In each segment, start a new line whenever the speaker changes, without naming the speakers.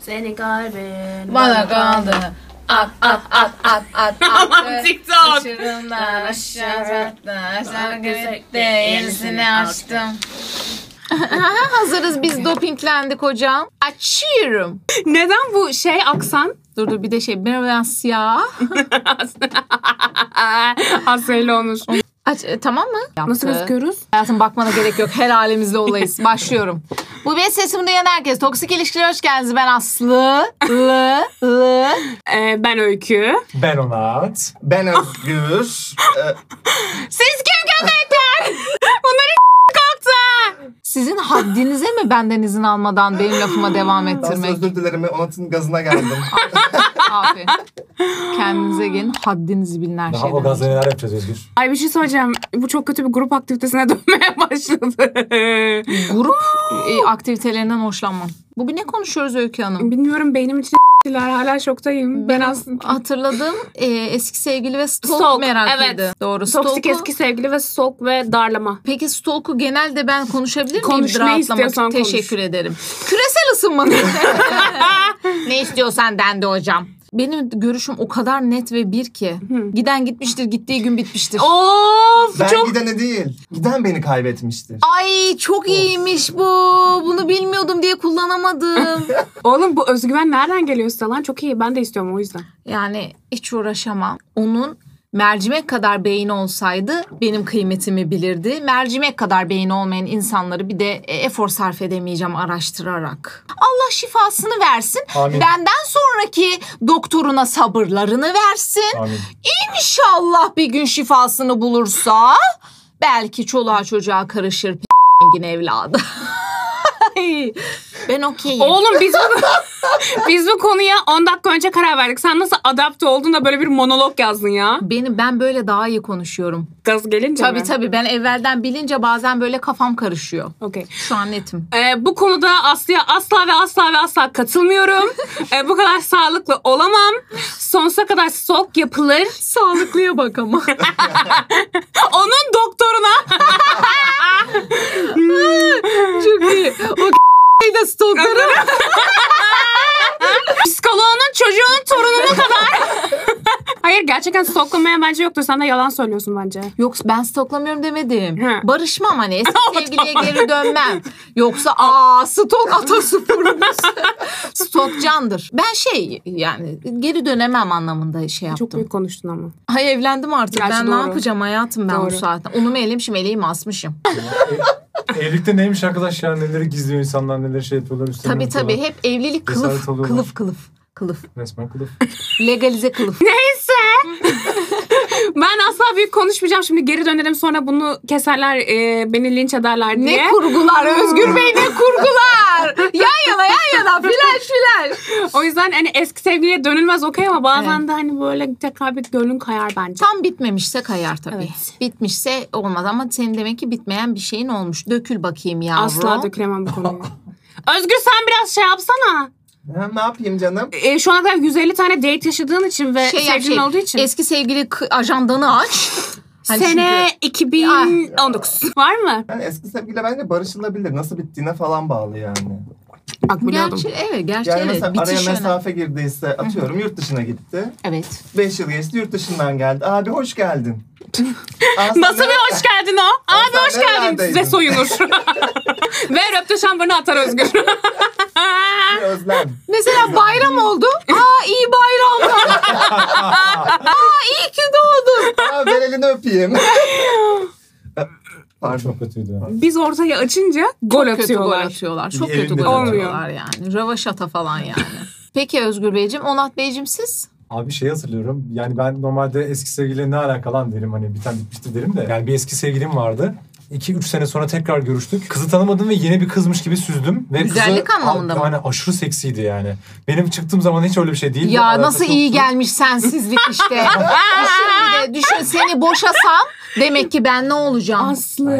Senin kalbin
Bana kaldı. At at at at at
Aman TikTok.
Uçurumdan aşağı bıraktı. Aşağı gitti. Yenisini açtım. Hazırız biz dopinglendik hocam. Açıyorum.
Neden bu şey aksan?
Dur dur bir de şey ben siyah.
Asayla olmuş.
Aç, e, tamam mı?
Nasıl
Yaptı.
gözüküyoruz?
Hayatım bakmana gerek yok. Her halimizle olayız. Başlıyorum. Bu benim sesimi duyan herkes. Toksik ilişkiler hoş geldiniz. Ben Aslı. Lı. Lı.
Ee, ben Öykü.
Ben Onat. Ben Özgür. Ee,
Siz kim köpekler? Bunları kalktı. Sizin haddinize mi benden izin almadan benim lafıma devam
daha sonra
ettirmek?
özür dilerim. Onat'ın gazına geldim.
Aferin. Kendinize gelin. Haddinizi bilin her
Daha
şeyden.
o gazla neler yapacağız Özgür?
Ay bir şey söyleyeceğim. Bu çok kötü bir grup aktivitesine dönmeye başladı.
Grup e, aktivitelerinden hoşlanmam. Bugün ne konuşuyoruz Öykü Hanım?
Bilmiyorum beynim için hala şoktayım.
Hmm.
Ben aslında
Hatırladım e, eski sevgili ve stalk,
Stalk,
merakıydı.
evet.
Doğru.
toksik
stalk'u-
eski sevgili ve sok ve darlama.
Peki stalk'u genelde ben konuşabilir miyim?
Konuş, ne
Rahatlamak-
istiyorsan konuş.
Teşekkür ederim. Küresel ısınma. ne istiyorsan dendi hocam. Benim görüşüm o kadar net ve bir ki. Giden gitmiştir, gittiği gün bitmiştir.
Of
ben
çok
gidene değil. Giden beni kaybetmiştir.
Ay çok iyiymiş bu. Bunu bilmiyordum diye kullanamadım.
Oğlum bu özgüven nereden geliyor size lan? Çok iyi. Ben de istiyorum o yüzden.
yani hiç uğraşamam. Onun mercimek kadar beyni olsaydı benim kıymetimi bilirdi. Mercimek kadar beyni olmayan insanları bir de e, efor sarf edemeyeceğim araştırarak. Allah şifasını versin.
Amin.
Benden sonraki doktoruna sabırlarını versin.
Amin.
İnşallah bir gün şifasını bulursa belki çoluğa çocuğa karışır p***ngin evladı. Ay, ben okeyim.
Oğlum biz bu, biz bu konuya 10 dakika önce karar verdik. Sen nasıl adapte oldun da böyle bir monolog yazdın ya?
Beni ben böyle daha iyi konuşuyorum.
Gaz gelince
Tabii
mi?
tabii ben evvelden bilince bazen böyle kafam karışıyor.
Okey.
Şu an netim.
Ee, bu konuda Aslı'ya asla ve asla ve asla katılmıyorum. Ee, bu kadar sağlıklı olamam. Sonsuza kadar sok yapılır.
Sağlıklıya bak ama.
Onun doktoruna.
Çok iyi. O de stalkları.
Psikoloğunun çocuğunun torununa kadar. Hayır gerçekten soklamaya bence yoktur. Sen de yalan söylüyorsun bence.
Yok ben stoklamıyorum demedim.
He.
Barışmam hani eski sevgiliye geri dönmem. Yoksa aa stok atasporumuz. stok candır. Ben şey yani geri dönemem anlamında şey yaptım.
Çok büyük konuştun ama.
Hay evlendim artık.
Gerçi
ben
doğru.
ne yapacağım hayatım ben
Doğru.
bu saatten. Unumu elemişim eleğimi asmışım.
Evlilikte E, neymiş arkadaş ya? Neleri gizliyor insanlar, neleri şey yapıyorlar üstüne.
tabii
yapıyorlar.
tabii hep evlilik kılıf.
Cesaret alıyorlar.
Kılıf kılıf. Kılıf.
Resmen kılıf.
Legalize kılıf.
Ben asla büyük konuşmayacağım. Şimdi geri dönerim sonra bunu keserler, e, beni linç ederler diye.
Ne kurgular Özgür Bey ne kurgular. yan yana yan yana flash flash.
O yüzden hani eski sevgiliye dönülmez okey ama bazen de hani böyle tekrar bir gönlün kayar bence.
Tam bitmemişse kayar tabii.
Evet.
Bitmişse olmaz ama senin demek ki bitmeyen bir şeyin olmuş. Dökül bakayım yavrum.
Asla dökülemem bu konuyu. Özgür sen biraz şey yapsana.
Ha, ne yapayım canım?
E, şu ana kadar 150 tane date yaşadığın için ve
Şey yap,
sevgilin
şey,
olduğu için.
Eski sevgili k- ajandanı aç. Hani Ah.
Sene 2019. Var mı?
Yani eski sevgiliyle bence barışılabilir. Nasıl bittiğine falan bağlı yani.
Bak
çünkü- Gerçi evet, gerçi
Yani
evet.
mesela araya
Bitiş önemli.
mesafe girdiyse atıyorum yurt dışına gitti.
Evet.
5 yıl geçti yurt dışından geldi. Abi hoş geldin. Aa, sen
Nasıl
ne-
bir hoş geldin o? Abi
sen
hoş geldin
nerelerdeydin?
size soyunur. Ve röpteşambırını atar Özgür.
Özlem.
Mesela bayram oldu. Aa iyi bayram. Aa iyi ki doğdun.
Aa, ver elini öpeyim. Pardon.
Çok kötüydü.
Biz ortayı açınca gol
Kötü gol
atıyorlar.
atıyorlar. Çok
Elinde
kötü gol
olmuyor.
atıyorlar yani. Rövaşata falan yani. Peki Özgür Beyciğim, Onat Beyciğim siz?
Abi şey hatırlıyorum. Yani ben normalde eski sevgiliyle ne alakalı lan derim. Hani biten bitmişti derim de. Yani bir eski sevgilim vardı. 2-3 sene sonra tekrar görüştük. Kızı tanımadım ve yeni bir kızmış gibi süzdüm. Ve
Güzellik
kızı,
anlamında mı?
Yani aşırı seksiydi yani. Benim çıktığım zaman hiç öyle bir şey değildi.
Ya
Alakası
nasıl iyi
yoktu.
gelmiş sensizlik işte. düşün bir de düşün seni boşasam demek ki ben ne olacağım?
Aslı.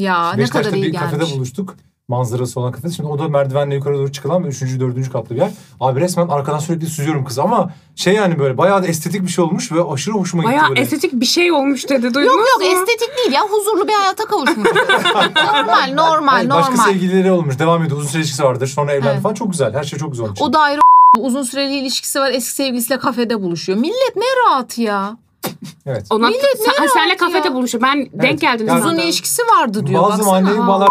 ya ne
Beşiktaş'ta
kadar iyi
bir
gelmiş.
kafede buluştuk. Manzarası olan kafede. Şimdi o da merdivenle yukarı doğru çıkılan ve üçüncü, dördüncü katlı bir yer. Abi resmen arkadan sürekli süzüyorum kızı ama şey yani böyle bayağı da estetik bir şey olmuş ve aşırı hoşuma gitti
Bayağı
böyle.
estetik bir şey olmuş dedi. Duydunuz
Yok yok
mu?
estetik değil ya huzurlu bir hayata kavuşmuş. normal normal
Hayır, başka
normal.
sevgilileri olmuş. Devam ediyor. Uzun süre ilişkisi vardır. Sonra evlendi
Evet.
falan. Çok güzel. Her şey çok güzel. onun için.
O da ayrı Uzun süreli ilişkisi var eski sevgilisiyle kafede buluşuyor. Millet ne rahat ya.
Evet.
Ona
Millet ne
sen, senle
rahat
kafede
ya?
buluşuyor. Ben denk geldim.
Yani-
Uzun
zaten.
ilişkisi vardı diyor.
Bazı
baksana.
anneyi bağlar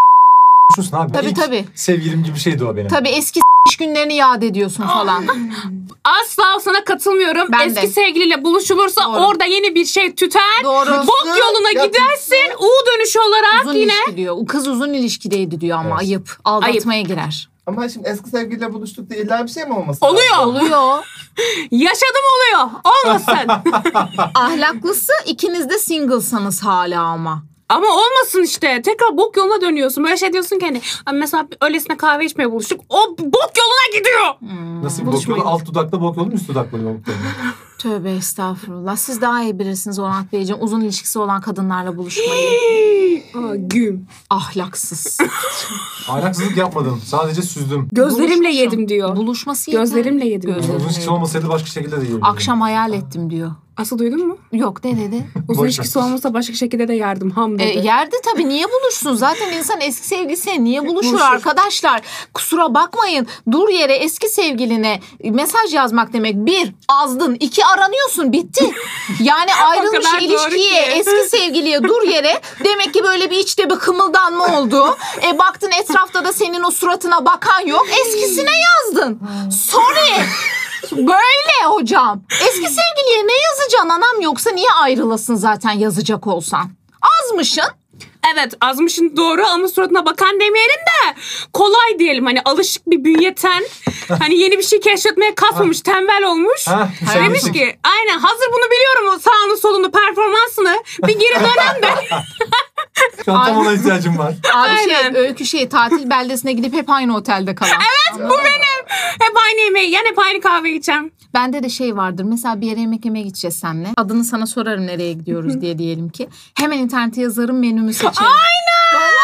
a**mışsın abi.
Tabii,
İlk
tabii.
Sevgilim gibi şeydi o benim.
Tabii eski s- günlerini yad ediyorsun falan.
Asla sana katılmıyorum.
Ben
Eski
de.
sevgiliyle buluşulursa
Doğru.
orada yeni bir şey tüter.
Doğru.
Bok yoluna
Ya-
gidersin. U dönüşü olarak
Uzun
yine.
ilişki diyor. O kız uzun ilişkideydi diyor ama
Evet.
ayıp. Aldatmaya girer.
Ama şimdi eski sevgiliyle buluştuk da illa bir şey mi olması? lazım?
Oluyor.
Oluyor.
Yaşadım oluyor. Olmasın.
Ahlaklısı ikiniz de singlesanız hala ama.
Ama olmasın işte. Tekrar bok yoluna dönüyorsun. Böyle şey diyorsun kendi. Mesela öylesine kahve içmeye buluştuk. O bok yoluna gidiyor.
Nasıl bir bok yolu?
Buluşmayın.
Alt dudakla bok yolu mu üst dudakla bok yolu mu?
Tövbe estağfurullah. Siz daha iyi bilirsiniz Orhan Beyciğim. Uzun ilişkisi olan kadınlarla buluşmayı.
Aa, güm.
Ahlaksız.
Ahlaksızlık yapmadım. Sadece süzdüm.
Gözlerimle
Buluşmuşum.
yedim diyor.
Buluşması yeter.
Gözlerimle yedim.
Göz-
diyor.
Uzun ilişkisi olmasaydı başka şekilde de yiyebilirdim.
Akşam hayal ettim diyor.
Asıl duydun mu?
Yok ne dedi?
Uzun
ver.
ilişkisi olmasa başka şekilde de yardım. Ham
E,
dedi.
yerde tabii niye buluşsun? Zaten insan eski sevgilisiyle niye buluşur,
Buluşur.
arkadaşlar? Kusura bakmayın. Dur yere eski sevgiline mesaj yazmak demek. Bir, azdın. iki aranıyorsun. Bitti. Yani ayrılmış
kadar doğru
ilişkiye,
ki.
eski sevgiliye dur yere. Demek ki böyle bir içte bir kımıldanma oldu. E baktın etrafta da senin o suratına bakan yok. Eskisine yazdın. Sorry. Böyle hocam. Eski sevgiliye ne yazacaksın anam yoksa niye ayrılasın zaten yazacak olsan? Azmışın.
Evet azmışın doğru ama suratına bakan demeyelim de kolay diyelim. Hani alışık bir bünyeten hani yeni bir şey keşfetmeye kalkmamış tembel olmuş.
Ha,
Demiş
müsaitlik.
ki aynen hazır bunu biliyorum o sağını solunu performansını bir geri dönem de
Şu an tam
Ay.
ona ihtiyacım var.
Abi
Aynen.
şey öykü şey tatil beldesine gidip hep aynı otelde kalan.
hep aynı yemeği yani hep aynı kahve içen.
Bende de şey vardır. Mesela bir yere yemek yemeye gideceğiz senle. Adını sana sorarım nereye gidiyoruz diye diyelim ki. Hemen internete yazarım menümü seçerim.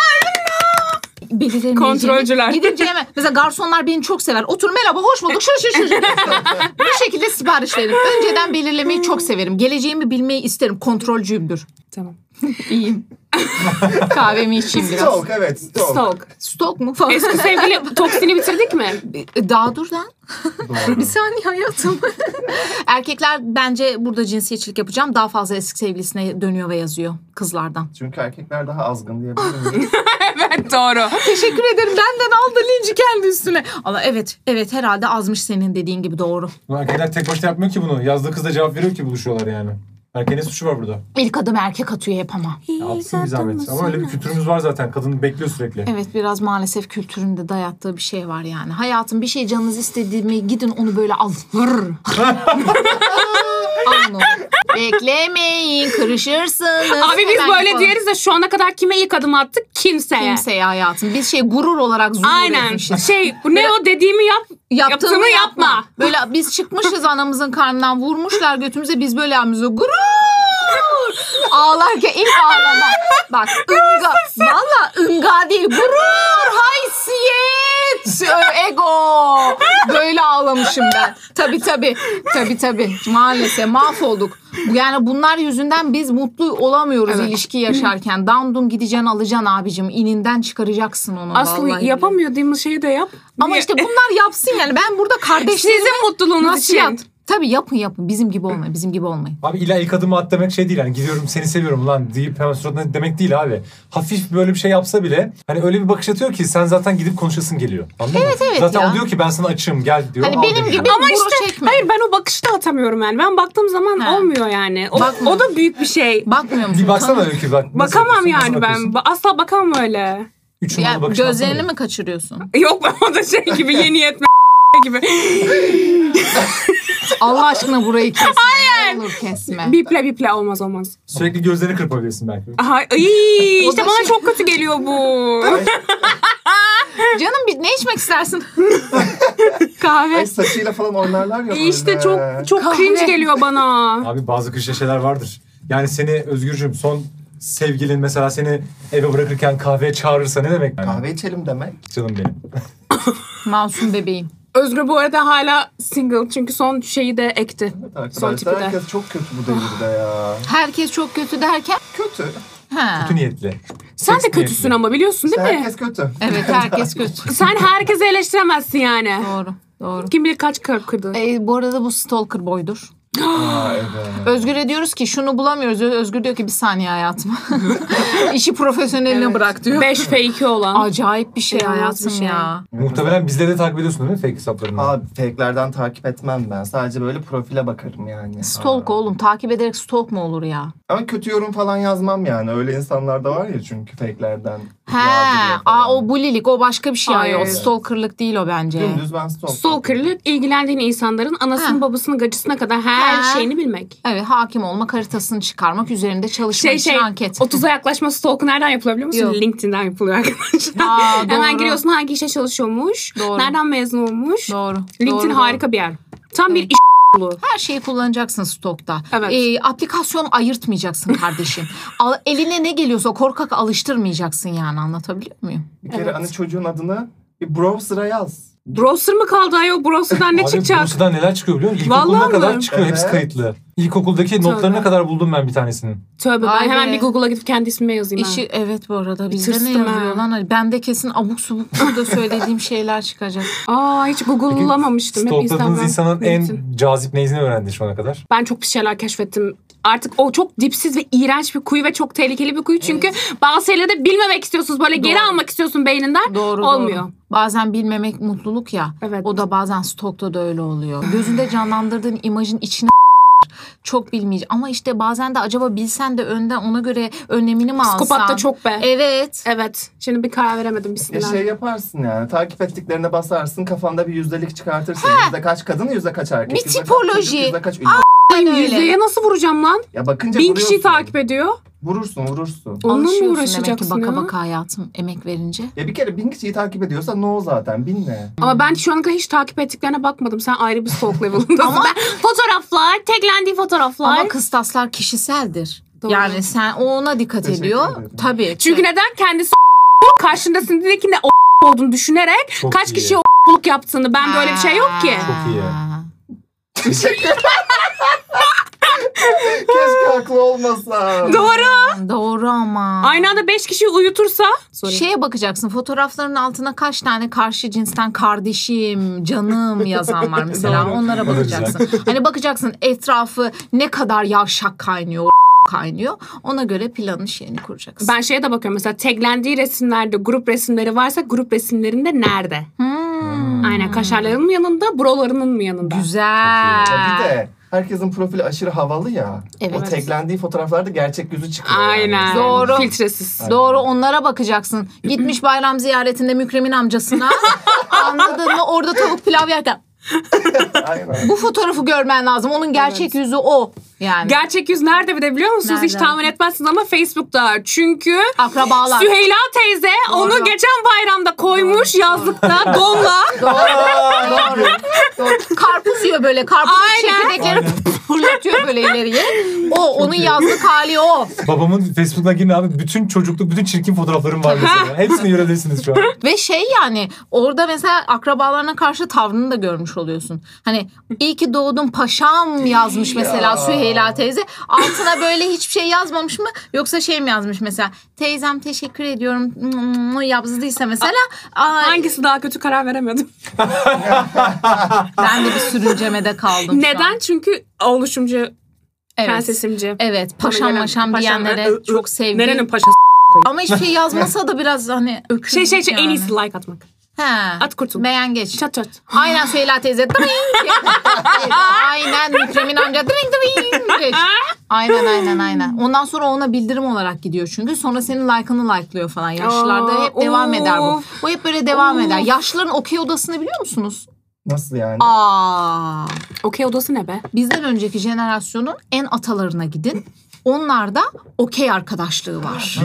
Aynen. Belirlenmeyeceğim.
Kontrolcüler.
Gidince hemen. Mesela garsonlar beni çok sever. Otur merhaba hoş bulduk. Şu şu şu. şu. Bu şekilde sipariş veririm. Önceden belirlemeyi çok severim. Geleceğimi bilmeyi isterim. Kontrolcüyümdür.
Tamam.
İyiyim. Kahvemi içeyim biraz.
Stalk evet stalk.
Stalk.
Stok mu falan.
Eski sevgili toksini bitirdik mi?
Ee, Daha dur lan.
Doğru.
Bir saniye hayatım. Erkekler bence burada cinsiyetçilik yapacağım. Daha fazla eski sevgilisine dönüyor ve yazıyor kızlardan.
Çünkü erkekler daha azgın diyebilir miyim?
evet doğru.
Teşekkür ederim. Benden aldı linci kendi üstüne. Allah evet. Evet herhalde azmış senin dediğin gibi doğru.
Bu Erkekler tek başına yapmıyor ki bunu. Yazdığı kız da cevap veriyor ki buluşuyorlar yani. Erkeğin ne suçu var burada?
İlk adım erkek atıyor hep ama.
Ya Atsın bir zahmet. Ama öyle bir kültürümüz var zaten. Kadın bekliyor sürekli.
Evet biraz maalesef kültüründe dayattığı bir şey var yani. Hayatım bir şey canınız istediği mi gidin onu böyle al. Hırr. Alın onu. Beklemeyin kırışırsınız.
Abi biz
Hemen
böyle
yapalım.
diyoruz da şu ana kadar kime ilk adım attık? Kimseye.
Kimseye hayatım. Biz şey gurur olarak zor
Aynen. Şey bu ne o dediğimi yap. Yaptığımı yapma.
Böyle biz çıkmışız anamızın karnından vurmuşlar götümüze biz böyle yapmışız. Gurur! Ağlarken ilk ağlama. Bak ınga. Valla ınga değil. Gurur, haysiyet, ö, ego. Böyle ağlamışım ben. Tabii tabii. Tabii tabii. Maalesef mahvolduk. Yani bunlar yüzünden biz mutlu olamıyoruz
Evet.
ilişki yaşarken. Dandun gideceksin alacaksın abicim. İninden çıkaracaksın onu
Aslı
vallahi.
yapamadığımız şeyi de yap.
Ama
Niye?
işte bunlar yapsın yani. Ben burada kardeşliğimi
sizin şey? mutluluğunuz için.
nasihat. Tabii yapın yapın. Bizim gibi olmayın. Bizim gibi olmayın.
Abi illa ilk adımı at demek şey değil yani gidiyorum seni seviyorum lan deyip hemen suratına demek değil abi. Hafif böyle bir şey yapsa bile hani öyle bir bakış atıyor ki sen zaten gidip konuşasın geliyor. Anladın evet, mı?
evet
zaten
ya.
o diyor ki ben sana açığım gel diyor.
Hani
al
benim
demiyor.
gibi
Ama
Ama
işte-
çekme.
Hayır ben o bakışı da atamıyorum yani. Ben baktığım zaman
Ha.
olmuyor yani. O,
Bakmıyor.
o da büyük bir şey.
Bakmıyor musun?
Bir baksana
Tanı-
öykü bak. Nasıl
Bakamam
yapıyorsun, nasıl
yani ben.
bakıyorsun?
Ba- Asla bakamam öyle.
Üç
Ya,
numaralı bakış
gözlerini
atsana.
mi kaçırıyorsun?
Yok ben o da şey gibi yeni yetme gibi.
Allah aşkına burayı kesme. Hayır. Olur kesme.
Biple biple olmaz olmaz.
Sürekli gözlerini kırpabilirsin belki.
Aha, iyi, işte
O da
bana
şey-
çok kötü geliyor bu.
Canım bir ne içmek istersin? Kahve.
Ay saçıyla falan oynarlar ya.
işte
böyle.
çok çok
Kahve.
cringe geliyor bana.
Abi bazı klişe şeyler vardır. Yani seni Özgürcüğüm son sevgilin mesela seni eve bırakırken kahveye çağırırsa ne demek? Yani,
Kahve içelim demek.
Canım benim.
Masum bebeğim.
Özgür bu arada hala single çünkü son şeyi de ekti.
Evet
Son tipi
Arkadaşlar
de.
herkes çok kötü bu devirde ya.
Herkes çok kötü derken.
Kötü.
Ha.
Kötü niyetli.
Sen
Seks
de kötüsün
niyetli.
ama biliyorsun değil mi?
Herkes kötü.
Evet herkes kötü.
Sen herkesi eleştiremezsin yani.
Doğru. Doğru.
Kim bilir kaç kalp kırdı.
E, bu arada bu stalker boydur.
Aa, evet.
Özgür'e diyoruz ki şunu bulamıyoruz. Ö- Özgür diyor ki bir saniye hayatım. İşi profesyoneline
Evet.
bırak diyor.
Beş fake'i olan.
Acayip bir şey
İnanılmaz
hayatım
bir şey.
ya.
Muhtemelen bizleri de takip ediyorsun değil mi fake hesaplarını?
Abi fake'lerden takip etmem ben. Sadece böyle profile bakarım yani.
Stalk oğlum takip ederek stalk mu olur ya?
Ama kötü yorum falan yazmam yani. Öyle insanlar da var ya çünkü fake'lerden.
He,
yağdırıyor falan.
aa o bulilik o başka bir şey
Ay,
ya. O
evet.
stalkerlık değil o bence.
Dümdüz ben stalker.
Stalkerlık ilgilendiğin insanların anasının
Ha.
babasının gacısına kadar her
Ha.
şeyini bilmek.
Evet hakim olmak haritasını çıkarmak üzerinde çalışmak
Şey
için
şey
anket.
30'a yaklaşma stalk nereden yapılabiliyor musun?
Yok.
LinkedIn'den yapılıyor arkadaşlar.
Aa,
Hemen
doğru.
giriyorsun hangi işe çalışıyormuş,
Doğru.
nereden mezun olmuş.
Doğru.
LinkedIn
doğru,
harika bir yer. Tam bir
Evet.
iş yolu.
Her şeyi kullanacaksın stokta.
Evet.
Ee, aplikasyon ayırtmayacaksın kardeşim. Al- eline ne geliyorsa korkak alıştırmayacaksın yani anlatabiliyor muyum?
Bir kere
Evet.
hani çocuğun adını bir browser'a yaz.
Browser mı kaldı ayol? Browser'dan ne
Abi
çıkacak?
Bursa'dan neler çıkıyor biliyor musun?
Vallahi
İlkokuluna
mi?
kadar çıkıyor. Hepsi
Evet.
kayıtlı. İlkokuldaki notlarına kadar buldum ben bir tanesini.
Tövbe ben
Vay
hemen
be.
bir Google'a gidip kendi ismimi yazayım.
İşi evet bu arada bizde ne
Bitirsin ha.
yazıyor lan? Ben de kesin abuk subuk burada söylediğim şeyler çıkacak.
ben. Aa hiç Google'lamamıştım. Hep Instagram,
Stalkladığınız insanın
LinkedIn.
en cazip neyini öğrendin şu ana kadar?
Ben çok bir şeyler keşfettim. Artık o çok dipsiz ve iğrenç bir kuyu ve çok tehlikeli bir kuyu. Çünkü bazı şeyleri de bilmemek istiyorsunuz. Böyle geri
Doğru.
almak istiyorsun beyninden.
Doğru
Olmuyor.
doğru. Bazen bilmemek mutluluk ya.
Evet.
O da bazen stokta da öyle oluyor. Gözünde canlandırdığın imajın içine çok bilmeyecek. Ama işte bazen de acaba bilsen de önden ona göre önlemini mi alsan? E-
Psikopat da çok be.
Evet.
Evet. Şimdi bir karar veremedim bir
Ya
sinirlendim.
şey yaparsın yani takip ettiklerine basarsın kafanda bir yüzdelik çıkartırsın. Yüzde kaç kadın yüzde kaç erkek.
Bir
yüzde kaç
tipoloji.
çocuk, Yüzde kaç ünlü.
Aynen öyle.
Yüzdeye nasıl vuracağım lan?
Ya bakınca
Bin
vuruyorsun.
kişiyi takip ediyor.
Vurursun vurursun.
Onunla mı
Alışıyorsun
uğraşacaksın
demek ki baka
ya?
baka hayatım emek verince.
Ya bir kere bin kişiyi takip ediyorsa no zaten bin ne?
Ama ben şu ana kadar hiç takip ettiklerine bakmadım. Sen ayrı bir stalk level'ındasın.
Ama-
ben fotoğraflar, teklendiği fotoğraflar.
Ama kıstaslar kişiseldir.
Doğru.
Yani sen o ona dikkat
Teşekkür
ediyor.
ederim.
Tabii.
Çünkü neden kendisi karşındasındaki ne o olduğunu düşünerek
Çok
kaç
iyi.
kişiye o yaptığını. Ben böyle bir şey yok ki.
Çok iyi.
Keşke haklı olmasa.
Doğru.
Doğru ama.
Aynı anda 5 kişiyi uyutursa. Şey,
Şeye bakacaksın fotoğrafların altına kaç tane karşı cinsten kardeşim, canım yazan var mesela.
Doğru.
Onlara
O da güzel.
bakacaksın. hani bakacaksın etrafı ne kadar yavşak kaynıyor, kaynıyor. Ona göre planı şeyini kuracaksın.
Ben şeye de bakıyorum mesela taglendiği resimlerde grup resimleri varsa grup resimlerinde nerede?
Hmm.
Aynen kaşarlarının mı yanında, brolarının mı yanında?
Güzel.
Ya bir de herkesin profili aşırı havalı ya.
Evet.
O teklendiği fotoğraflarda gerçek yüzü çıkıyor. yani.
Aynen.
Doğru.
Filtresiz.
Doğru onlara bakacaksın. Gitmiş bayram ziyaretinde Mükremin amcasına. Anladın mı? Orada tavuk pilav yerken.
Aynen.
Bu fotoğrafı görmen lazım. Onun gerçek yüzü o. Yani
Gerçek yüz nerede bir de biliyor musunuz? Hiç
Nereden?
tahmin etmezsiniz ama Facebook'ta. Çünkü
akrabalar.
Süheyla teyze onu
Ah, Doğru.
geçen bayramda koymuş yazlıkta donla.
Aa, ne yapıyorsun?
Karpuz yiyor böyle. Karpuz
Aynen.
çekirdekleri fırlatıyor böyle ileriye. O onun yazlık hali o.
Babamın Facebook'una girin abi bütün çocukluk, bütün çirkin fotoğraflarım var mesela. Hepsini görebilirsiniz şu an.
Ve şey yani orada mesela akrabalarına karşı tavrını da görmüş oluyorsun. Hani iyi ki doğdun paşam yazmış mesela
Ya.
Süheyla teyze. Altına böyle hiçbir şey yazmamış mı? Yoksa şey mi yazmış mesela? Teyzem teşekkür ediyorum. Hmm, Yapsıdıysa mesela. Ay,
Hangisi daha kötü karar veremedim.
Ben de bir sürüncemede kaldım. şu an.
Neden? Çünkü oluşumcu,
Evet.
prensesimci.
Evet paşam
Bana gelen-
maşam
paşam,
diyenlere
ö- ö-
çok sevgi.
Nerenin paşası?
Ama hiçbir şey yazmasa da biraz hani öküz
Şey şey şey en
yani.
iyisi like atmak.
He.
At kurtul.
Beğen geç.
Çat çat.
Aynen Süheyla teyze. Dring. aynen Mükremin amca. Dring dring. Geç. Aynen aynen aynen. Ondan sonra ona bildirim olarak gidiyor çünkü. Sonra senin like'ını like'lıyor falan. Yaşlılarda
Aa,
hep devam eder bu.
of.
Bu hep böyle devam
Of.
eder. Yaşlıların okey odasını biliyor musunuz?
Nasıl yani?
Aa.
Okey odası ne be?
Bizden önceki jenerasyonun en atalarına gidin. Onlarda okey arkadaşlığı var.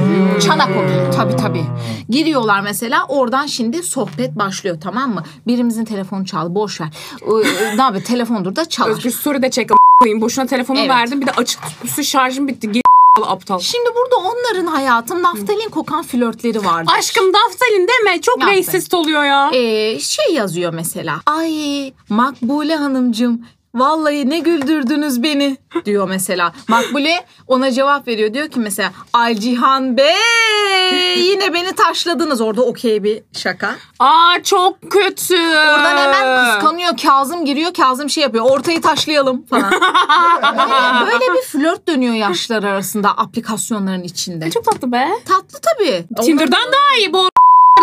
Çanak okey tabii tabii. Giriyorlar mesela oradan şimdi sohbet başlıyor tamam mı? Birimizin telefonu çaldı boş ver. Ee, ne yapıyor telefondur da çalar.
Özgür story de çek a**ayım. Boşuna telefonu
Ah. Evet.
verdim. Bir de açık tutkusu şarjım bitti. Geri a**alı aptal.
Şimdi burada onların hayatım naftalin kokan flörtleri vardı.
Aşkım Daftalin deme. Çok
Daftalin. E-
racist oluyor ya.
Ee, şey yazıyor mesela. Ay Makbule Hanımcığım Vallahi ne güldürdünüz beni diyor mesela. Makbule ona cevap veriyor. Diyor ki mesela Alcihan Bey yine beni taşladınız. Orada okey bir şaka.
Aa çok kötü.
Oradan hemen kıskanıyor. Kazım giriyor. Kazım şey yapıyor. Ortayı taşlayalım falan. böyle, böyle bir flört dönüyor yaşlar arasında aplikasyonların içinde.
Çok tatlı be.
Tatlı tabii.
Tinder'dan daha iyi bu.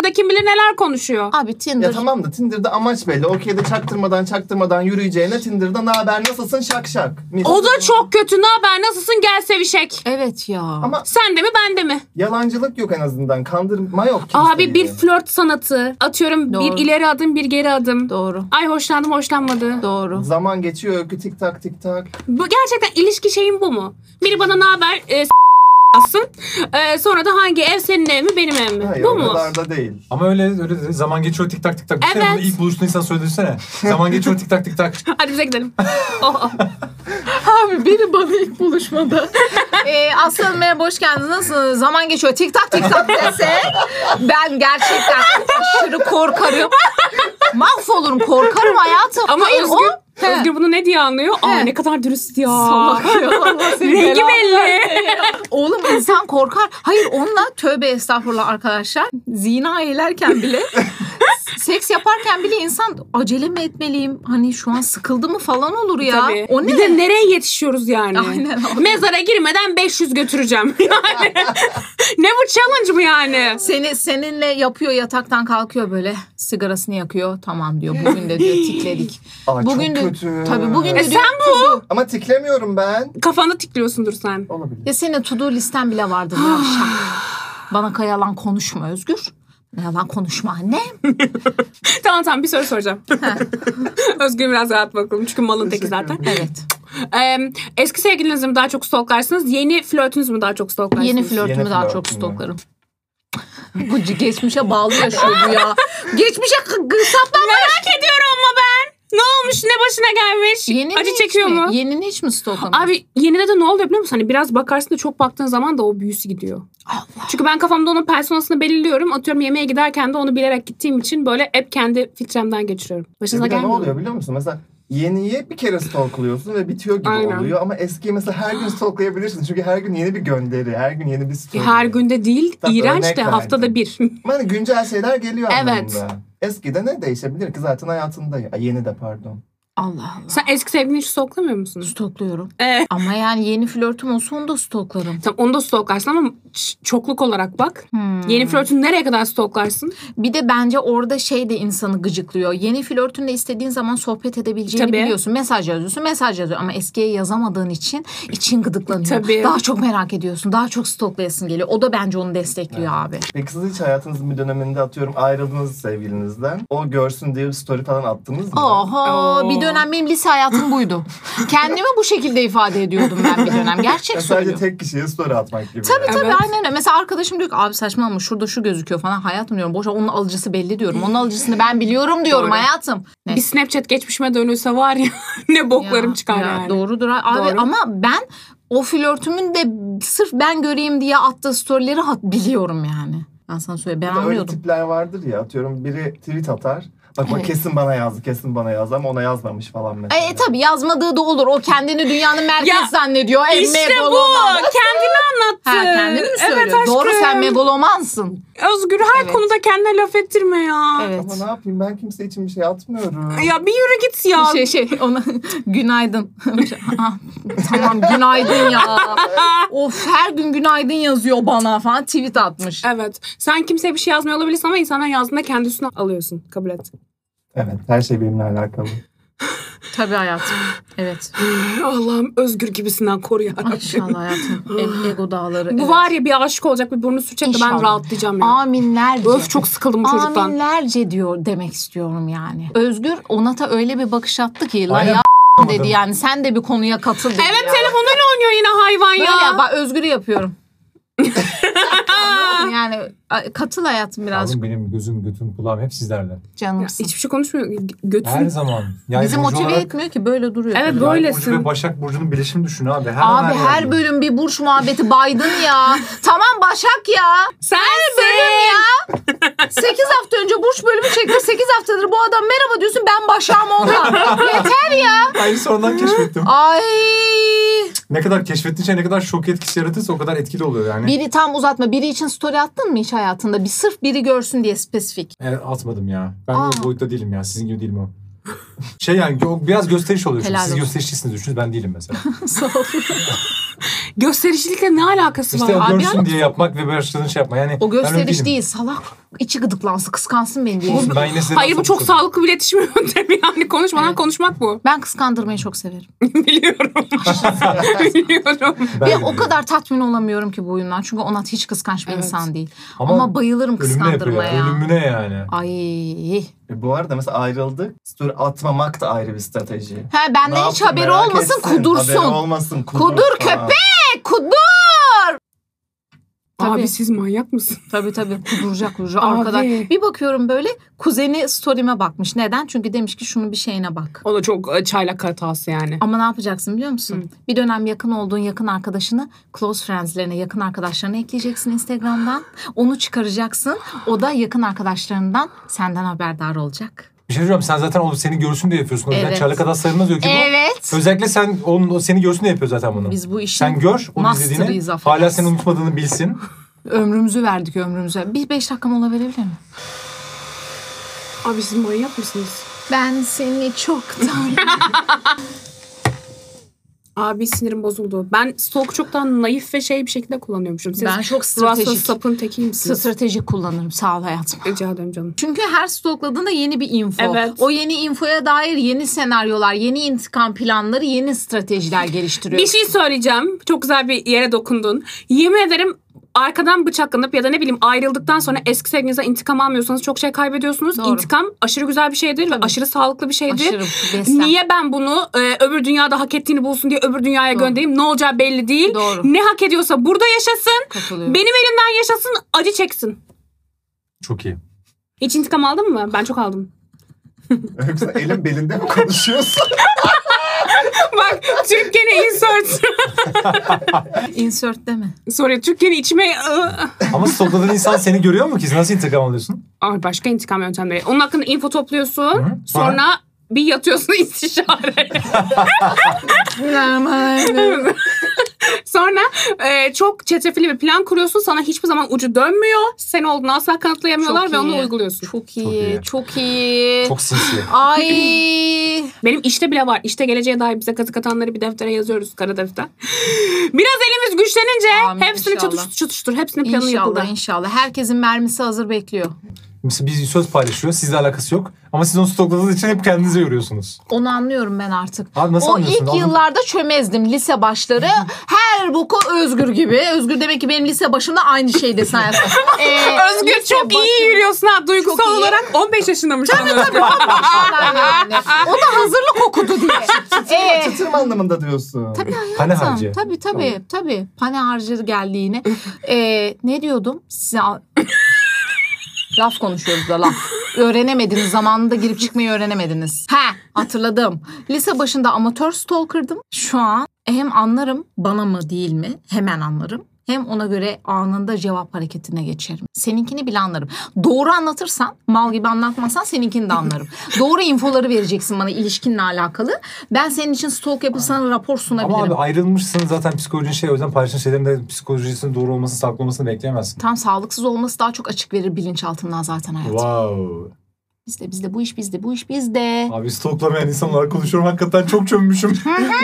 Da kim bilir neler konuşuyor.
Abi Tinder.
Ya tamam da Tinder'da amaç belli. Okey'de çaktırmadan çaktırmadan yürüyeceğine Tinder'da ne haber nasılsın şak şak. Mis.
O da çok kötü. Ne haber? Nasılsın? Gel sevişek.
Evet ya.
Ama
Sen de mi ben de mi?
yalancılık yok en azından. Kandırma yok. kimseyi.
Abi bir flört sanatı. Atıyorum
Doğru.
bir ileri adım bir geri adım.
Doğru.
Ay hoşlandım hoşlanmadı.
Doğru.
Zaman geçiyor öykü tik tak tik tak.
Bu gerçekten ilişki şeyin bu mu? Biri bana ne haber? E, s- atsın. E, sonra da hangi ev senin ev mi benim ev mi?
Hayır
bu
o
mu?
kadar da değil.
Ama öyle öyle de zaman geçiyor tik tak tik tak. Düşünsene
Evet.
bunu ilk buluştuğun insan söylesene. Zaman geçiyor tik tak tik tak.
Hadi bize gidelim. Oh, oh.
Abi biri bana ilk buluşmada. ee, Aslı Hanım merhaba hoş geldiniz. Nasılsınız? Zaman geçiyor. Tik tak tik tak desek. Ben gerçekten aşırı korkarım. Mahvolurum korkarım hayatım.
Ama
Hayır,
Özgür,
o- He.
Özgür bunu ne diye anlıyor? Aa
He.
ne kadar dürüst ya.
Salak ya, Allah seni
Rengi
belanı
belli.
Oğlum insan korkar. Hayır onunla tövbe estağfurullah arkadaşlar. Zina eylerken bile seks yaparken bile insan acele mi etmeliyim? Hani şu an sıkıldı mı falan olur ya.
Tabii.
O ne?
Bir de nereye yetişiyoruz yani?
Aynen.
Mezara girmeden 500 götüreceğim. Yani ne bu challenge mı yani?
Seni seninle yapıyor yataktan kalkıyor böyle sigarasını yakıyor. Tamam diyor. Bugün de diyor tikledik.
Aa,
bugün de
çok kötü.
tabii bugün de
E
diyor,
sen bu.
Ama tiklemiyorum ben.
Kafanda tikliyorsundur sen.
Olabilir.
Ya senin to-do listen bile vardır ya akşam. Bana kay- yalan konuşma Özgür. Yalan konuşma anne.
Tamam tamam bir soru soracağım. Özgür biraz rahat bakalım çünkü malın teki
Teşekkür
zaten.
Evet.
Ee, eski sevgilinizi mi daha çok stalklarsınız? Yeni flörtünüz mü daha çok stalklarsınız?
Yeni flörtümü
Yeni
daha çok
flörtünü.
stoklarım. Bu c- geçmişe bağlı yaşıyor bu ya. Geçmişe k- k- saplanmış.
Merak ediyorum ama ben. Ne olmuş ne başına gelmiş?
Yenini
Acı
hiç
çekiyor
mi?
mu?
Yenini hiç mi stoklamıyor?
Abi yenide de ne oluyor biliyor musun? Hani biraz bakarsın da çok baktığın zaman da o büyüsü gidiyor.
Allah.
Çünkü ben kafamda onun personasını belirliyorum. Atıyorum yemeğe giderken de onu bilerek gittiğim için böyle hep kendi filtremden geçiriyorum. Başınıza
E, Bir de ne
gelmiyor. mu?
oluyor biliyor musun? Mesela yeniyi bir kere stalkluyorsun ve bitiyor gibi
Aynen.
oluyor. Ama eskiyi mesela her gün stalklayabilirsin. Çünkü her gün yeni bir gönderi, her gün yeni bir story.
E, Her günde değil,
Tabii,
iğrenç
örnek
de
verdim.
haftada bir.
Ama hani güncel şeyler geliyor
Evet.
anlamında. Eskide ne değişebilir ki zaten hayatında. Ay, yeni de pardon.
Allah Allah.
Sen eski sevgilini hiç stalklamıyor musun?
Stokluyorum.
Ee,
Ama yani yeni flörtüm olsa onu da stoklarım.
tamam onu da stalklarsın ama ç- çokluk olarak bak.
Hmm.
Yeni flörtünü nereye kadar stalklarsın?
Bir de bence orada şey de insanı gıcıklıyor. Yeni flörtünle istediğin zaman sohbet edebileceğini
Tabii.
biliyorsun. Mesaj yazıyorsun, mesaj yazıyor. Ama eskiye yazamadığın için için gıdıklanıyor.
Tabii.
Daha çok merak ediyorsun. Daha çok stoklayasın geliyor. O da bence onu destekliyor abi.
Peki siz hiç hayatınızın bir döneminde atıyorum ayrıldınız sevgilinizden. O görsün diye bir story falan attınız mı?
Oho
Oo.
bir dönem benim lise hayatım buydu. Kendimi bu şekilde ifade ediyordum ben bir dönem. Gerçek
Ya sadece
söylüyorum.
tek kişiye story atmak gibi.
Tabii
yani.
tabii
Evet.
aynen öyle. Mesela arkadaşım diyor ki abi saçmalama şurada şu gözüküyor falan. Hayatım diyorum boşa onun alıcısı belli diyorum. Onun alıcısını ben biliyorum diyorum
Doğru.
hayatım. Neyse.
Bir Snapchat geçmişime dönülse var ya ne boklarım
Ya,
çıkar
ya,
yani.
Doğrudur abi
Doğru.
ama ben o flörtümün de sırf ben göreyim diye attığı storyleri hat biliyorum yani. Ben sana söyleyeyim ben
Bir de Öyle
anlıyordum.
tipler vardır ya atıyorum biri tweet atar. Bak bak
Evet.
kesin bana yazdı kesin bana yazdı ama ona yazmamış falan
E,
mesela.
e tabi yazmadığı da olur. O kendini dünyanın merkezi
Ya,
zannediyor. E,
İşte bu.
megaloman.
Kendini anlattı.
Ha, kendini mi söylüyor?
Evet aşkım.
Doğru sen megalomansın.
Özgür her
Evet.
konuda kendine laf ettirme ya.
Evet.
Ama ne yapayım ben kimse için bir şey atmıyorum.
Ya bir yürü git ya.
Şey şey ona günaydın. Ah, tamam günaydın ya. of her gün günaydın yazıyor bana falan tweet atmış.
Evet. Sen kimseye bir şey yazmıyor olabilirsin ama insana yazdığında kendisini alıyorsun. Kabul et.
Evet her şey benimle alakalı.
Tabii hayatım. Evet.
Allah'ım özgür gibisinden koru ya.
İnşallah hayatım. E- ego dağları.
Bu
evet.
var ya bir aşık olacak bir burnu sürecek de ben
İnşallah.
rahatlayacağım ya.
Aminlerce.
Öf çok sıkıldım bu çocuktan.
Aminlerce diyor demek istiyorum yani. Özgür Onat'a öyle bir bakış attı ki la
Aynen.
ya dedi yani sen de bir konuya katıl dedi.
Evet
ya.
telefonuyla oynuyor yine hayvan
Böyle
ya.
ya. bak Özgür'ü yapıyorum. Anladın mı? yani a- katıl hayatım birazcık
Ağzım benim gözüm götüm kulağım hep sizlerle.
Ya,
canımsın.
Hiçbir şey konuşmuyor. G-
Her
Götün.
zaman. Yani
Bizi
burcu
motive
olarak-
etmiyor ki böyle duruyor.
Evet,
Yani
Böylesin.
Burcu ve Başak Burcu'nun birleşimi düşün abi. Her an
Abi
yerde.
her bölüm bir burç muhabbeti baydın ya. tamam Başak ya.
Sensin.
8 hafta önce burç bölümü çekti. 8 haftadır bu adam merhaba diyorsun ben Başak'ım ondan. Yeter ya.
Aynı sonradan keşfettim.
Ay.
ne kadar keşfettikçe ne kadar şok etkisi yaratırsa o kadar etkili oluyor yani.
Biri tam uzatma. Biri için story attın mı hiç hayatında? Bir sırf biri görsün diye spesifik.
Evet, E, atmadım ya. Ben
Aa.
o boyutta değilim ya. Sizin gibi değilim o. Şey yani gö- biraz gösteriş oluyor. şimdi.
Helal
Siz
olsun.
gösterişlisiniz düşünün ben değilim mesela.
Sağ ol.
Gösterişlikle ne alakası
İşte
var
o
abi?
görsün diye yapmak ve başladığın şey yapma. Yani
O
ben öyle
gösteriş
değilim.
değil. Salak içi gıdıklansın, kıskansın beni diye.
Olsun, ben yine size
Hayır bu
laf
çok
sokuyorum.
sağlıklı bir iletişim yöntemi yani. Konuşmadan konuşmak bu.
Ben kıskandırmayı çok severim.
Biliyorum. Biliyorum.
Ben
Ve
de
o
değilim.
kadar tatmin olamıyorum ki bu oyundan. Çünkü Onat hiç kıskanç bir
Evet.
insan değil.
Ama
Ama, bayılırım
Ölümüne yapıyor.
kıskandırmaya.
ya. Ölümüne yani.
Ay.
E, bu arada mesela ayrıldık. Story atmamak da ayrı bir strateji.
He
Ne
benden hiç
yaptın
haberi
merak
olmasın
etsin. Haberi
kudursun.
olmasın kudur.
Kudur
falan.
köpek kudur. Tabii.
Abi siz manyak mısın?
Tabii tabii kuduracak kuduracak
Abi.
arkadaş. Bir bakıyorum böyle kuzeni story'me bakmış. Neden? Çünkü demiş ki şunu bir şeyine bak.
O da çok e, çaylak hatası yani.
Ama ne yapacaksın biliyor musun? Bir dönem yakın olduğun yakın arkadaşını close friends'lerine, yakın arkadaşlarına ekleyeceksin Instagram'dan. Onu çıkaracaksın. O da yakın arkadaşlarından senden haberdar olacak.
Bir şey diyeceğim sen zaten onu seni görsün diye yapıyorsun. O yüzden
Evet.
çarlık adas sayılmaz öykü bu.
Evet.
Özellikle sen onun, o seni görsün diye yapıyor zaten bunu.
Biz bu işin
sen gör onu
master'ıyız,
izlediğini. Hala
affedersin.
seni unutmadığını bilsin.
ömrümüzü verdik ömrümüze. Bir beş dakika mola verebilir miyim?
Abi siz manyak mısınız?
Ben seni çoktan...
Abi sinirim bozuldu. Ben stalk çoktan naif ve şey bir şekilde kullanıyormuşum. Siz
ben çok
Russell
stratejik.
sapın tekiymişsiniz.
Stratejik kullanırım sağ ol hayatım.
Rica ederim canım.
Çünkü her stokladığında yeni bir info.
Evet.
O yeni infoya dair yeni senaryolar, yeni intikam planları, yeni stratejiler geliştiriyor.
Bir şey söyleyeceğim. Çok güzel bir yere dokundun. Yemin ederim arkadan bıçaklanıp ya da ne bileyim ayrıldıktan sonra eski sevgilinizden intikam almıyorsanız çok şey kaybediyorsunuz.
Doğru.
İntikam aşırı güzel bir şeydir ve
Tabii.
aşırı sağlıklı bir şeydir.
Aşırı beslen.
Niye ben bunu e, öbür dünyada hak ettiğini bulsun diye öbür dünyaya
Doğru.
göndereyim? Ne olacağı belli değil.
Doğru.
Ne hak ediyorsa burada yaşasın.
Katılıyorum.
Benim elimden yaşasın, acı çeksin.
Çok iyi.
Hiç intikam aldın mı? Ben çok aldım.
Yoksa elin belinde mi konuşuyorsun?
Bak Türkiye'ne insert.
Insert deme.
Sorry Türkiye'ni içime... ıı,
Ama stokladığın insan seni görüyor mu ki? Nasıl intikam alıyorsun?
Ay başka intikam yöntemleri. Onun hakkında info topluyorsun.
Hı.
Sonra bir yatıyorsun istişare. sonra e, çok çetrefilli bir plan kuruyorsun. Sana hiçbir zaman ucu dönmüyor. Sen olduğunu asla kanıtlayamıyorlar
Çok
ve onu
iyi.
uyguluyorsun.
Çok
iyi.
iyi, çok iyi.
Çok sinsi.
Ay.
Benim işte bile var. İşte geleceğe dair bize kazık atanları bir deftere yazıyoruz. Kara defter. Biraz elimiz güçlenince
Amin,
hepsini
inşallah.
çatıştır çatıştır. Hepsinin planı yapıldı.
İnşallah inşallah. Herkesin mermisi hazır bekliyor.
Mesela bir söz paylaşıyor. Sizle alakası yok. Ama siz onu stokladığınız için hep kendinize yoruyorsunuz.
Onu anlıyorum ben artık.
Abi nasıl
o
anlıyorsun?
ilk
Anlam-
yıllarda çömezdim lise başları. Her boku özgür gibi. Özgür demek ki benim lise başımda aynı şeydi sen. Ee,
Özgür
lise
çok iyi
başım-
yürüyorsun ha.
Çok
Duygusal
iyi.
olarak 15 yaşındamış. sanıyorum.
Maşallah yani. O da hazırlık okudu diye. Ee,
Çıtırma anlamında diyorsun. Tabii.
Pane
Tamam,
harcı.
Tabii tabii tabii. Pane harcı geldi yine. Ee, ne diyordum? Size al- laf konuşuyoruz da laf. Öğrenemediniz zamanında girip çıkmayı öğrenemediniz. He hatırladım. Lise başında amatör stalker'dım. Şu an hem anlarım bana mı değil mi hemen anlarım. Hem ona göre anında cevap hareketine geçerim. Seninkini bile anlarım. Doğru anlatırsan, mal gibi anlatmazsan seninkini de anlarım. Doğru infoları vereceksin bana ilişkinle alakalı. Ben senin için stalk yapıp sana rapor sunabilirim.
Ama abi ayrılmışsın zaten psikolojin şey o yüzden paylaştığın şeylerin de psikolojisinin doğru olmasını saklamasını bekleyemezsin.
Tam sağlıksız olması daha çok açık verir bilinçaltından zaten hayatım.
Wow.
Bizde bizde bu iş bizde bu iş bizde.
Abi stoklamayan insan olarak konuşuyorum. Hakikaten çok çömmüşüm.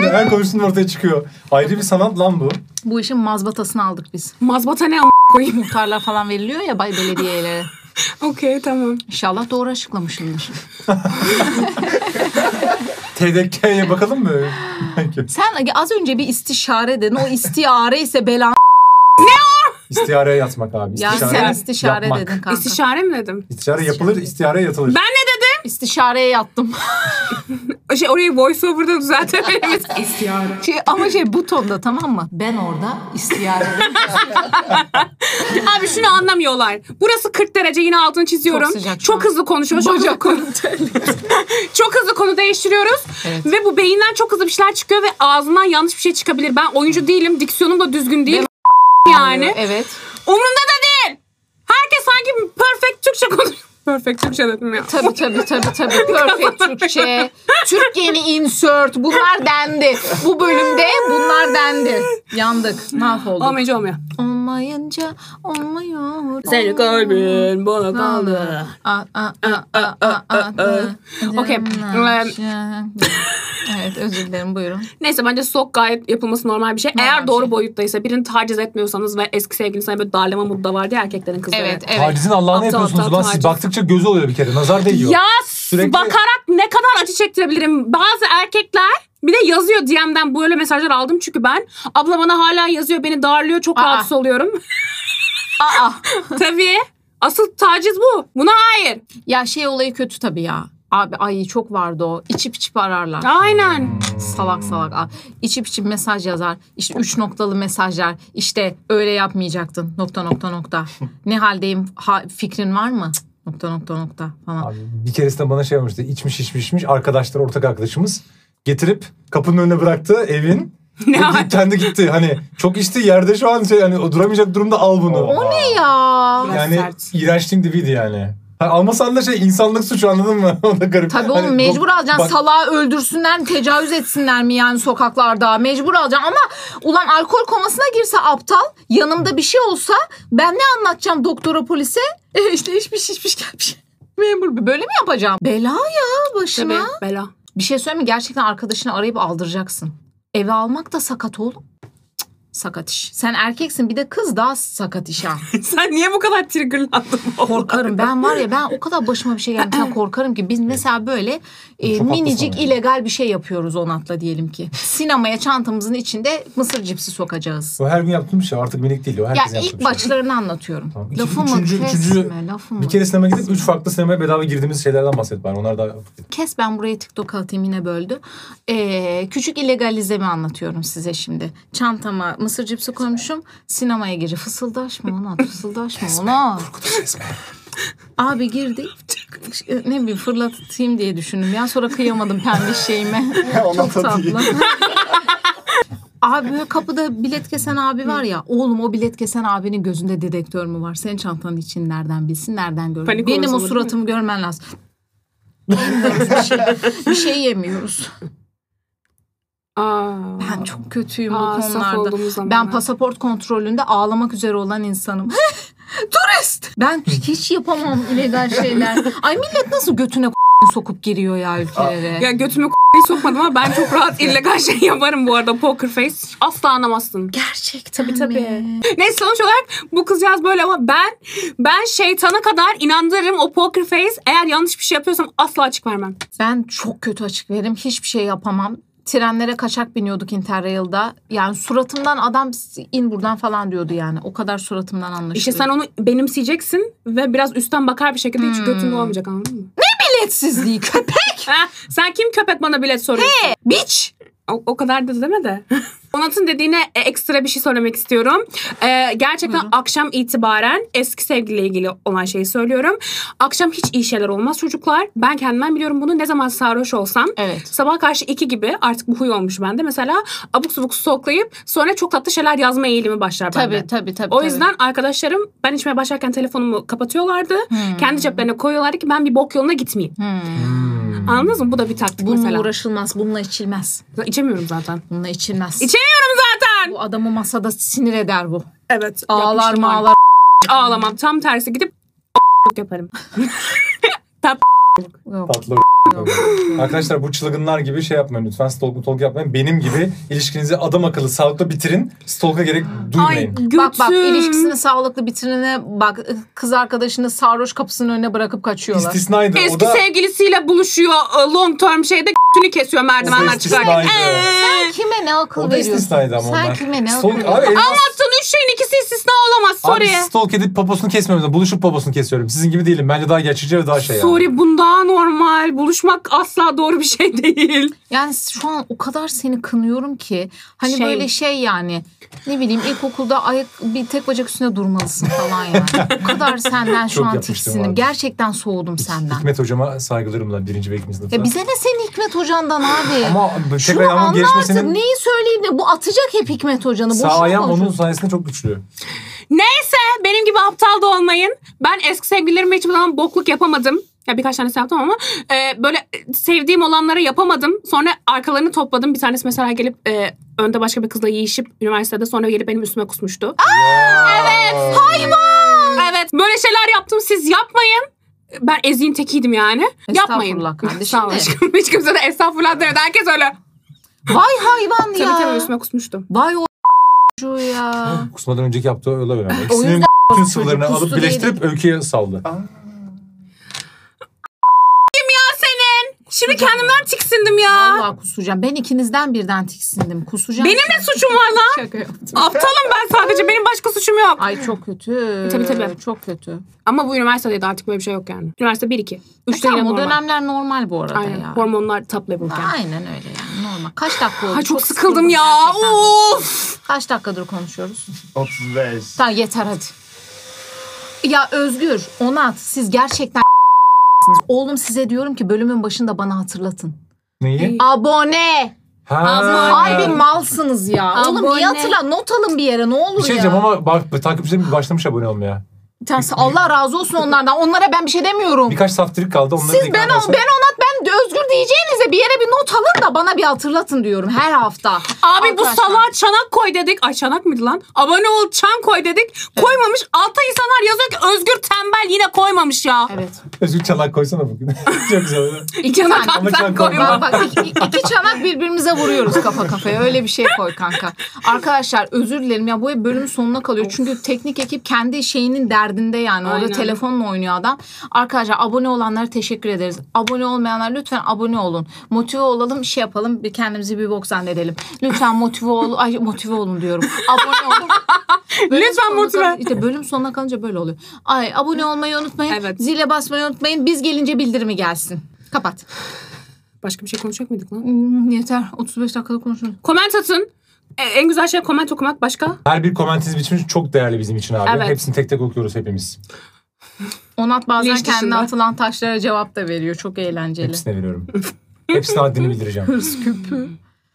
Her konuştuğum ortaya çıkıyor. Ayrı bir sanat lan bu.
Bu işin mazbatasını aldık biz.
Mazbata ne a- koyayım.
Muhtarlar falan veriliyor ya bay belediyelere.
Okey tamam.
İnşallah doğru açıklamışımdır.
TDK'ye bakalım mı?
Sen az önce bir istişare dedin. O istiyare ise bela.
İstihareye yatmak abi.
Ya
İstişare
sen istişare
yapmak.
dedin kanka.
İstişare mi dedim?
İstişare yapılır, istihareye yatılır.
İstişareye yattım.
Şey, orayı voiceover'da düzeltebiliriz. İstiyare.
şey, ama şey bu tonda tamam mı? Ben orada istiyareyim.
Abi şunu anlamıyorlar. Burası 40 derece yine altını çiziyorum.
Çok sıcak şu an.
hızlı konuşuyoruz. Çok hızlı, konu... çok hızlı konu değiştiriyoruz.
Evet.
Ve bu beyinden çok hızlı bir şeyler çıkıyor ve ağzından yanlış bir şey çıkabilir. Ben oyuncu değilim. Diksiyonum da düzgün değil. yani.
evet.
Umrumda da değil. Herkes sanki perfect Türkçe konuşuyor. Perfect Türkçe dedim ya.
Tabii tabii tabii tabii. Perfect Türkçe. Türk yeni insert. Bunlar dendi. Bu bölümde bunlar dendi. Yandık. Mahvolduk.
Olmayınca olmuyor.
Olmayınca olmuyor.
Senin kalbin bana kaldı.
A, a, a, a, a, a, a.
Okey,
Ee,
em.
Evet özür dilerim buyurun.
Neyse bence sok gayet yapılması normal bir şey.
Normal
Eğer
bir
doğru
şey.
boyuttaysa birini taciz etmiyorsanız ve eski sevgilin sana böyle darlama mudda vardı ya erkeklerin kızları.
Evet evet.
Tacizin Allah'ını
Aptal,
yapıyorsunuz
aptal,
lan. Siz
taciz.
baktıkça gözü oluyor bir kere. Nazar değiyor.
Ya
Sürekli-
bakarak ne kadar acı çektirebilirim. Bazı erkekler bir de yazıyor DM'den böyle mesajlar aldım çünkü ben. Abla bana hala yazıyor beni darlıyor çok
Aa.
rahatsız oluyorum.
Aa.
Tabii. Asıl taciz bu. Buna hayır.
Ya şey olayı kötü tabii ya. Abi ay çok vardı o. İçip içip ararlar.
Aynen.
Salak salak. Aa, İçip içip mesaj yazar. İşte üç noktalı mesajlar. İşte öyle yapmayacaktın. Nokta nokta nokta. Ne haldeyim? Ha, fikrin var mı? Cık, Nokta nokta nokta falan.
Abi bir keresinde bana şey yapmıştı. İçmiş içmiş içmiş. Arkadaşlar ortak arkadaşımız getirip kapının önüne bıraktı evin.
Ne
Ve
hayır?
Kendi gitti. Hani çok içti yerde şu an şey hani o duramayacak durumda al bunu.
O ne ya?
Biraz
Yani
sert.
iğrençliğin dibiydi yani. Ha, almasan da şey insanlık suçu anladın mı? o da garip.
Tabii
Hani
oğlum mecbur
dok-
alacaksın.
bak-
Salağı öldürsünler mi, tecavüz etsinler mi yani sokaklarda? Mecbur alacaksın ama ulan alkol komasına girse aptal, yanımda bir şey olsa ben ne anlatacağım doktora polise? E işte içmiş içmiş gelmiş. Memur bey, böyle mi yapacağım? Bela ya başına.
Tabii bela.
Bir şey söyleyeyim mi? Gerçekten arkadaşını arayıp aldıracaksın. Eve almak da sakat oğlum. Cık, Sakat iş. Sen erkeksin bir de kız daha sakat iş ha.
Sen niye bu kadar triggerlandın?
Korkarım ben var ya ben o kadar başıma bir şey gelmesinden korkarım ki biz mesela böyle e,
Çok haklısın
minicik
yani.
illegal bir şey yapıyoruz Onat'la diyelim ki. Sinemaya çantamızın içinde mısır cipsi sokacağız.
Bu her gün yaptığım bir şey artık minik değil o.
Ya
Herkes yaptığı
ilk
bir şey.
başlarını anlatıyorum.
Tamam. İki-
Lafımı
üçüncü-
kesme,
üçüncü-
lafımı.
Bir kere sinemaya gidip üç farklı sinemaya bedava girdiğimiz şeylerden bahset bari. Onlar da
Kes ben buraya TikTok atayım yine böldü. Ee, küçük illegalizemi anlatıyorum size şimdi. Çantama mısır cipsi koymuşum. Sinemaya gece fısıldaşma Onat fısıldaşma Onat. Abi girdik. Ne bileyim fırlatayım diye düşündüm. Ya sonra kıyamadım pembe şeyime.
Ondan
Çok
sonra değil.
tatlı. Abi böyle kapıda bilet kesen abi var ya. Oğlum o bilet kesen abinin gözünde dedektör mü var? Senin çantanın için nereden bilsin, nereden görür?
Panik
Benim
olursa
o
olur,
suratımı görmen lazım. Yemiyoruz bir şey. Bir şey yemiyoruz.
Aa.
Ben çok kötüyüm
Aa,
bu
saf
konularda.
olduğumuz zamanlar.
Ben pasaport kontrolünde ağlamak üzere olan insanım. Turist! Ben hiç yapamam illegal şeyler. Ay millet nasıl götüne sokup giriyor ya ülkelere.
Ya götümü k***yi sokmadım ama ben çok rahat illegal şey yaparım bu arada poker face. Asla anlamazsın.
Gerçekten
Tabii. Neyse sonuç olarak bu kızcağız böyle ama ben ben şeytana kadar inandırırım o poker face. Eğer yanlış bir şey yapıyorsam asla açık vermem.
Ben çok kötü açık veririm. Hiçbir şey yapamam. Trenlere kaçak biniyorduk Interrail'da. Yani suratımdan adam in buradan falan diyordu yani. O kadar suratımdan anlaşılıyor.
İşte sen onu benimseyeceksin ve biraz üstten bakar bir şekilde hiç götünde olmayacak anladın mı?
biletsizliği köpek.
Ha, sen kim köpek bana bilet soruyorsun?
Biç.
O, o kadar da deme de. Onat'ın dediğine e, ekstra bir şey söylemek istiyorum. Ee, gerçekten akşam itibaren eski sevgiliyle ilgili olan şeyi söylüyorum. Akşam hiç iyi şeyler olmaz çocuklar. Ben kendimden biliyorum bunu. Ne zaman sarhoş olsam
Evet.
sabah karşı iki gibi artık bu huy olmuş bende. Mesela abuk subuk soklayıp sonra çok tatlı şeyler yazma eğilimi başlar bende.
Tabii tabii tabii.
O
tabii.
yüzden arkadaşlarım ben içmeye başlarken telefonumu kapatıyorlardı.
Hmm.
Kendi ceplerine koyuyorlardı ki ben bir bok yoluna gitmeyeyim.
Hmm.
Anladınız mı? Bu da bir taktik
bununla
mesela.
uğraşılmaz. Bununla içilmez.
İçemiyorum zaten.
Bununla içilmez.
İçemiyorum zaten.
bu adamı masada sinir eder bu.
Evet.
Ağlar
yapmıştım
mağlar.
Ağlamam. Tam tersi gidip yaparım.
Yok.
tatlı Arkadaşlar bu çılgınlar gibi şey yapmayın lütfen. Stalk talk yapmayın. Benim gibi ilişkinizi adam akıllı sağlıklı bitirin. Stalk'a gerek
Ay
duymayın.
götüm.
Bak bak ilişkisini sağlıklı bitirene bak kız arkadaşını sarhoş kapısının önüne bırakıp kaçıyorlar.
İstisnaydı. o
Eski
da
sevgilisiyle buluşuyor e, long term şeyde k***ünü kesiyor
O
merdivenler
da
çıkarken.
istisnaydı.
Eee.
Kime ne akıl
o da
veriyorsun?
istisnaydı ama
Sen
onlar.
kime ne akıl
Stalk-
veriyorsun?
Abi, elmas-
Anlattığın üç şeyin ikisi istisna olamaz.
Abi
Sorry.
stalk edip poposunu kesmiyorum. Buluşup poposunu kesiyorum. Sizin gibi değilim. Bence daha gerçekçi ve daha şey yani.
Sorry bun daha normal. Buluşmak asla doğru bir şey değil.
Yani şu an o kadar seni kınıyorum ki hani
Şey-
böyle şey yani ne bileyim ilkokulda ayak bir tek bacak üstüne durmalısın falan yani. o kadar senden şu
Çok
an
yapmıştım
tiksindim.
abi.
Gerçekten soğudum senden.
Hikmet hocama saygılarımla birinci ve ikinci sınıfta.
Ya bize ne senin Hikmet hocandan abi?
Ama tek
Şunu
ayağımın
anla artık
gelişmesinin
neyi söyleyeyim de bu atacak hep Hikmet hocanı.
sağ
Boşuna
ayağım
konuşuyorsun.
onun sayesinde çok güçlü.
Neyse benim gibi aptal da olmayın. Ben eski sevgililerime hiçbir zaman bokluk yapamadım. Ya birkaç tanesi yaptım ama e, böyle sevdiğim olanlara yapamadım. Sonra arkalarını topladım. Bir tanesi mesela gelip e, önde başka bir kızla yiyişip üniversitede sonra gelip benim üstüme kusmuştu.
Evet.
Evet böyle şeyler yaptım siz yapmayın. Ben eziğin tekiydim yani. Yapmayın.
Estağfurullah kardeşim
Sağ ol
de.
aşkım. Hiç kimse de estağfurullah demedi. Herkes öyle.
Vay hayvan
Tabii
ya.
tabii üstüme kusmuştu.
Vay o çocuğu ya.
Kusmadan önceki yaptığı öyle böyle. İkisinin
yüzden
bütün
çocuk
sıvılarını
kustu
alıp
diye
birleştirip öyküye saldı.
Şimdi kendimden tiksindim ya.
Vallahi kusacağım. Ben ikinizden birden tiksindim. Kusacağım.
Benim ne suçum var lan?
Şaka yaptım.
Aptalım ben sadece. Benim başka suçum yok.
Ay çok kötü.
Tabii, tabii.
Çok kötü.
Ama bu üniversitedeydi artık böyle bir şey yok yani. Üniversite 1-2. 3'te
E Tamam,
yine
o
normal.
dönemler normal bu arada
Aynen.
ya.
Hormonlar top level'ken.
Aynen öyle yani normal. Kaç dakika oldu?
Ay çok sıkıldım ya.
gerçekten.
Of.
Kaç dakikadır konuşuyoruz?
35.
Tamam yeter hadi. Ya Özgür, Onat siz gerçekten Oğlum size diyorum ki bölümün başında bana hatırlatın.
Neyi?
Abone.
Abone.
Ay bir malsınız ya. Oğlum
Abone.
niye hatırla? Not alın bir yere ne olur
Bir şey
ya.
diyeceğim ama bak takipçilerim başlamış abone olmaya.
Bir tanesi- Allah razı olsun onlardan. Onlara ben bir şey demiyorum.
Birkaç saftirik kaldı. Onları
Siz ben,
da
ben
ikram etsen-
Onat ben de Özgür diyeceğinize bir yere bir not alın da bana bir hatırlatın diyorum her hafta.
Abi bu
Arkadaşlar,
salağa çanak koy dedik. Ay çanak mıydı lan? Abone ol çan koy dedik. Koymamış. Altta insanlar yazıyor ki Özgür tembel yine koymamış ya.
Evet.
Özgür Çalak koysana bugün. Çok güzel.
İki
tane.
çanak
Ama
sen
çan
Bak
koyma.
bak iki, iki çanak birbirimize vuruyoruz kafa kafaya. Öyle bir şey koy kanka. Arkadaşlar özür dilerim ya bu hep bölüm sonuna kalıyor. Çünkü teknik ekip kendi şeyinin derdinde yani. Orada
Aynen.
telefonla oynuyor adam. Arkadaşlar abone olanlara teşekkür ederiz. Abone olmayanlar lütfen abone olun. Motive olalım şey yapalım. Bir kendimizi bir bok zannedelim. Lütfen motive olun. Ay motive olun diyorum. Abone olun. Bölüm
Lütfen
sonuna
motive.
kalınca- işte bölüm sonuna kalınca böyle oluyor. Ay abone olmayı unutmayın.
Evet.
Zile basmayı unutmayın. Biz gelince bildirimi gelsin. Kapat.
Başka bir şey konuşacak mıydık lan?
Hmm, yeter. 35 dakikada konuşuruz.
Koment atın. E, en güzel şey koment okumak başka.
Her bir komentiniz biçimi çok değerli bizim için abi.
Evet.
Hepsini tek tek okuyoruz hepimiz.
Onat bazen
Linç
kendine
dışında.
atılan taşlara cevap da veriyor. Çok eğlenceli.
Hepsine veriyorum. Hepsine haddini bildireceğim.
Hırs küpü.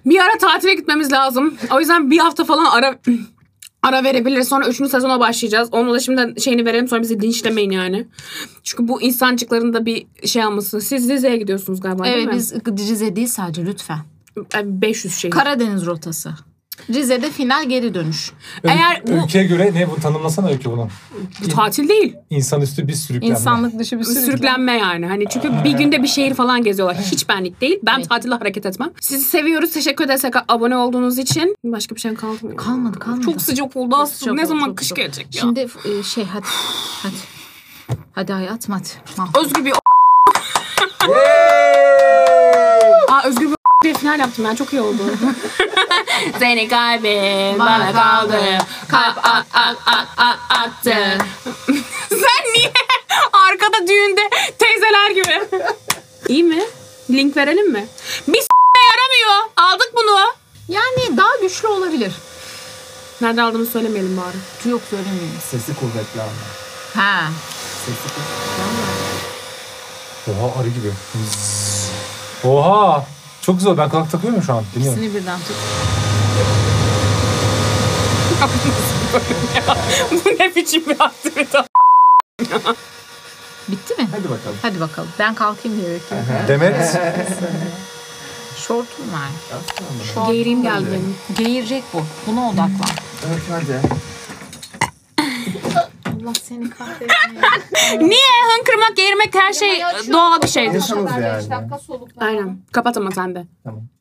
Bir ara tatile gitmemiz lazım. O yüzden bir hafta falan ara ara verebiliriz. Sonra üçüncü sezona başlayacağız. Onu da şimdi şeyini verelim sonra bizi linçlemeyin yani. Çünkü bu insancıkların da bir şey alması. Siz Rize'ye gidiyorsunuz galiba değil
Evet
mi?
biz Rize değil sadece lütfen.
Yani 500 şey.
Karadeniz rotası. Rize'de final geri dönüş.
Eğer bu-
Ülkeye göre ne bu tanımlasana ülke bunu.
bu tatil değil.
İnsanüstü bir sürüklenme.
İnsanlık dışı bir sürüklenme.
Sürüklenme yani. Hani çünkü bir günde bir şehir falan geziyorlar. Hiç benlik değil. Ben
Evet.
tatile hareket etmem. Sizi seviyoruz. Teşekkür ederiz abone olduğunuz için. Başka bir şey kaldı mı?
Kalmadı kalmadı.
Çok sıcak oldu aslında.
sıcak
Ne
oldu,
zaman
çok
kış
sıcak.
gelecek ya?
Şimdi e, şey hadi. Hadi. Hadi hayatım hadi. Mahvolduk.
Özgür bir Aa Özgür bir bir final yaptım ben çok iyi oldu. Seni kalbim bana kaldı. Kalp a- a- a- a- attı. Sen niye arkada düğünde teyzeler gibi? iyi mi? Link verelim mi? Bir s**me yaramıyor. Aldık bunu.
Yani daha güçlü olabilir.
Nerede aldığımı söylemeyelim bari.
Yok söylemiyoruz.
Sesi kuvvetli ama.
Ha.
Sesi kuvvetli.
Oha arı gibi. Oha. Çok güzel. Ben kulak takıyorum şu an. Dinliyorum.
İkisini birden tut.
Bu ne biçim bir aktivite?
Bitti mi?
Hadi bakalım.
Hadi bakalım. Ben kalkayım diye bekliyorum.
Demet.
Şortum var.
Tamam.
Geğireyim geldi benim.
Geğirecek bu. Buna odaklan.
Evet hadi.
Allah seni kahretsin.
Niye? Hınkırmak, geğirmek her şey
Ya, ya, şu-
doğal bir şeydir.
Yaşamız yani.
Aynen. Kapat ama sen de.
Tamam.